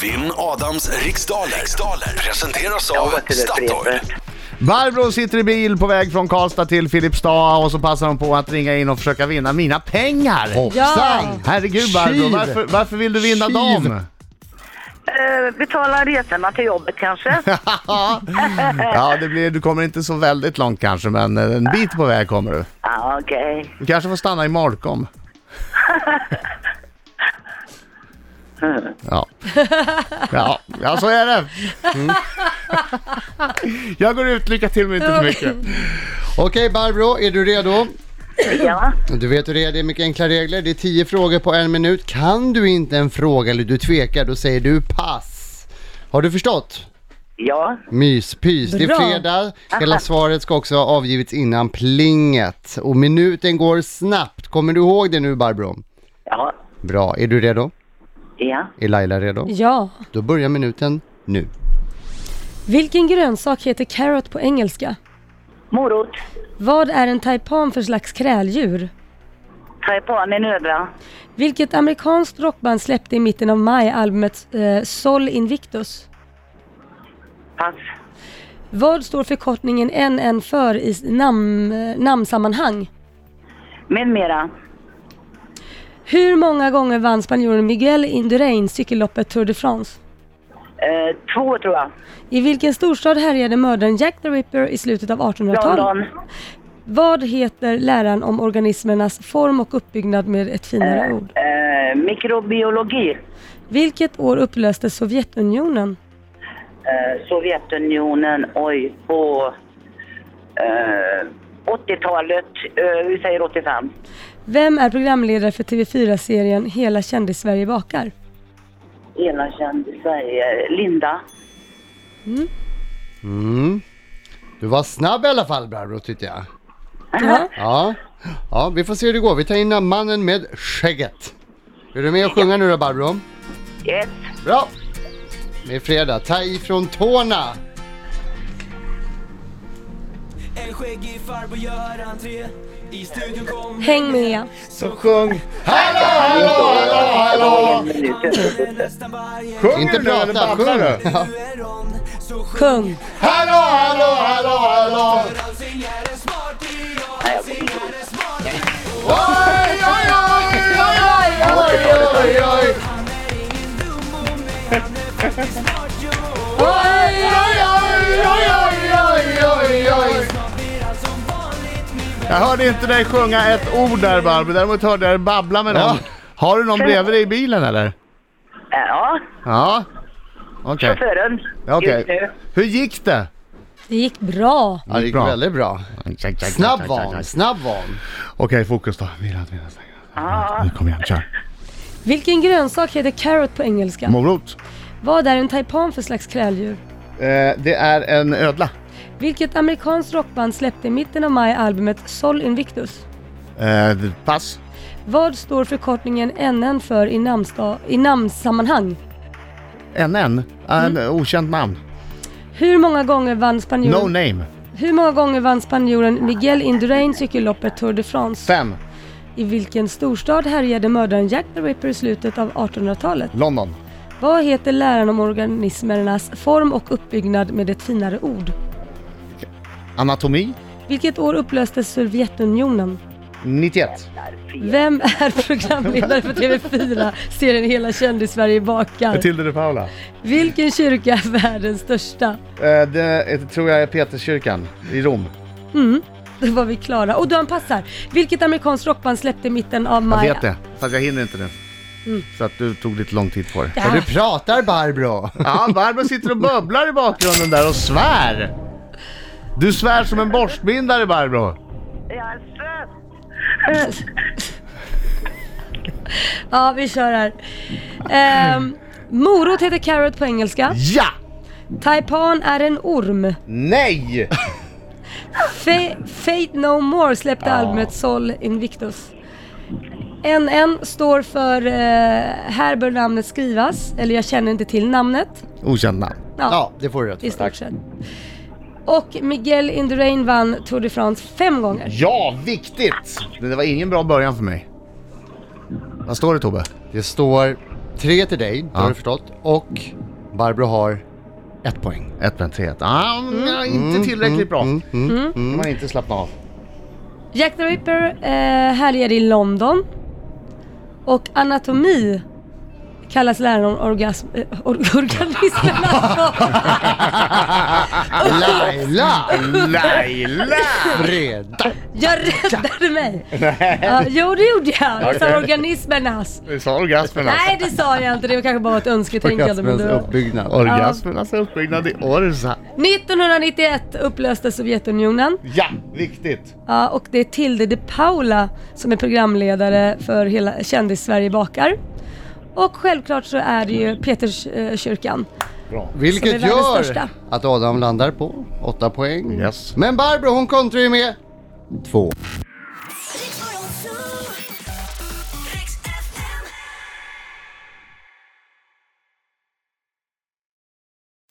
Vinn Adams riksdaler. riksdaler. Presenteras Jag av var till ett Statoil. brev. Barbro sitter i bil på väg från Karlstad till Filipstad och så passar hon på att ringa in och försöka vinna mina pengar. Ja. Herregud Barbro, Tjuv. varför, varför vill du vinna Tjuv. dem? Eh, betala resorna till jobbet kanske. Ja, det blir, du kommer inte så väldigt långt kanske, men eh, en bit på väg kommer du. ah, Okej. Du kanske får stanna i Malcolm. Ja. ja, ja så är det. Mm. Jag går ut, lycka till men inte för mycket. Okej Barbro, är du redo? Ja. Du vet hur det är, det är mycket enkla regler. Det är tio frågor på en minut. Kan du inte en fråga eller du tvekar, då säger du pass. Har du förstått? Ja. Myspys. Det är Bra. fredag. Hela svaret ska också ha avgivits innan plinget. Och minuten går snabbt. Kommer du ihåg det nu Barbro? Ja. Bra. Är du redo? Ja. Är Laila redo? Ja. Då börjar minuten nu. Vilken grönsak heter carrot på engelska? Morot. Vad är en taipan för slags kräldjur? Taipan är nödra. Vilket amerikanskt rockband släppte i mitten av maj albumet eh, Sol Invictus? Pass. Vad står förkortningen NN för i s- namn, eh, namnsammanhang? Med mera. Hur många gånger vann spanjoren Miguel Indurain cykelloppet Tour de France? Eh, två tror jag. I vilken storstad härjade mördaren Jack the Ripper i slutet av 1800-talet? London. Vad heter läran om organismernas form och uppbyggnad med ett finare ord? Eh, mikrobiologi. Vilket år upplöstes Sovjetunionen? Eh, Sovjetunionen. Oj. På eh, 80-talet. Eh, vi säger 85. Vem är programledare för TV4-serien Hela kändis-Sverige bakar? Ena känd Sverige. Linda. Mm. Du var snabb i alla fall Barbro tyckte jag. Ja. Ja. ja, vi får se hur det går. Vi tar in mannen med skägget. Är du med och sjunga nu då Barbro? Yes. Bra! Det är fredag. Ta ifrån tårna! En skäggig farbror gör entré I studion kom Häng med! Så sjung Hallå, hallå, hallå, hallå! han Eh, nästan varje Sjunger Inte du nu eller prata, babblar sjung! du? Ja. Nu är Ron så Kung! Hallå, hallå, hallå, hallå! För han singar en smarty och han singar en smarty Oj, oj, oj, oj, oj, oj, oj, oj! Han är ingen dummo men han är faktiskt smart jo Oj, oj, oj, oj, oj, oj, oj. Snart blir allt som vanligt min vän Jag hörde inte dig sjunga ett ord där Barbro, däremot hörde jag dig babbla med någon. Har du någon bredvid dig i bilen eller? Eh, ja. Ja. Okej. Chauffören. Okej. Just nu. Hur gick det? Det gick bra! Ja, det gick Bra. väldigt bra. Snabb van, snabb van. Okej, fokus då. Vila, vila, Ah. vila. Nu kom igen, kör. Vilken grönsak heter carrot på engelska? Morot. Vad är en taipan för slags kräldjur? Eh, det är en ödla. Vilket amerikanskt rockband släppte i mitten av maj albumet Sol Invictus? Eh, pass. Vad står förkortningen NN för i, namnsta- i namnsammanhang? NN. En Mm. okänt namn. Hur många gånger vann No spanjoren, name. Hur många gånger vann spanjoren Miguel Indurain cykelloppet Tour de France? Fem. I vilken storstad härjade mördaren Jack the Ripper i slutet av 1800-talet? London. Vad heter läran om organismernas form och uppbyggnad med ett finare ord? Anatomi. Vilket år upplöstes Sovjetunionen? 91. Vem är programledare för TV4? Serien Hela kändis-Sverige bakar. Tilde de Paula. Vilken kyrka är världens största? Eh, det är- tror jag är Peterskyrkan i Rom. Då var vi klara. Och Dan passar. Vilket amerikanskt rockband släppte i mitten av Jag maj? vet det, fast jag hinner inte nu. Mm. Så att du tog lite lång tid på det. Och du pratar Barbro! Ja, Barbro sitter och bubblar i bakgrunden där och svär. Du svär som en borstbindare Barbro. Jaså? Ja, vi kör här. Ehm, morot heter carrot på engelska. Ja! Taipan är en orm. Nej! Fa- Fate No More släppte albumet Sol Invictus. NN står för eh, Här bör namnet skrivas, eller jag känner inte till namnet. Okänt namn. Ja, Ja, det får du rätt i för. stort sett. Och Miguel Indurain vann Tour de France fem gånger. Ja, viktigt! Det var ingen bra början för mig. Vad står det Tobbe? Det står Tre till dig, det Ja. har du förstått. Och Barbro har ett poäng. Ett men tre, ett. Ah, mm, Inte tillräckligt bra. Mm, mm, mm. Man har inte slappnat av. Jack the Ripper eh, härjade i London. Och anatomi kallas läran om orgasm, eh, or, organismerna. Laila! Laila! Fredag! Jag räddade mig! Ja, jo, det gjorde jag. Jag sa organismernas. Du sa orgasmen alltså. Nej, det sa jag inte. Det var kanske bara ett önsketänkande. Men Orgasmens det var... uppbyggnad. Orgasmernas alltså uppbyggnad i Orsa. 1991 upplöstes Sovjetunionen. Ja, viktigt. Ja, och det är Tilde de Paula som är programledare för hela Kändis-Sverige bakar. Och självklart så är det ju Peterskyrkan. Bra. Som Vilket är världens gör största. att Adam landar på åtta poäng. Yes. Men Barbro hon kontrar ju med två.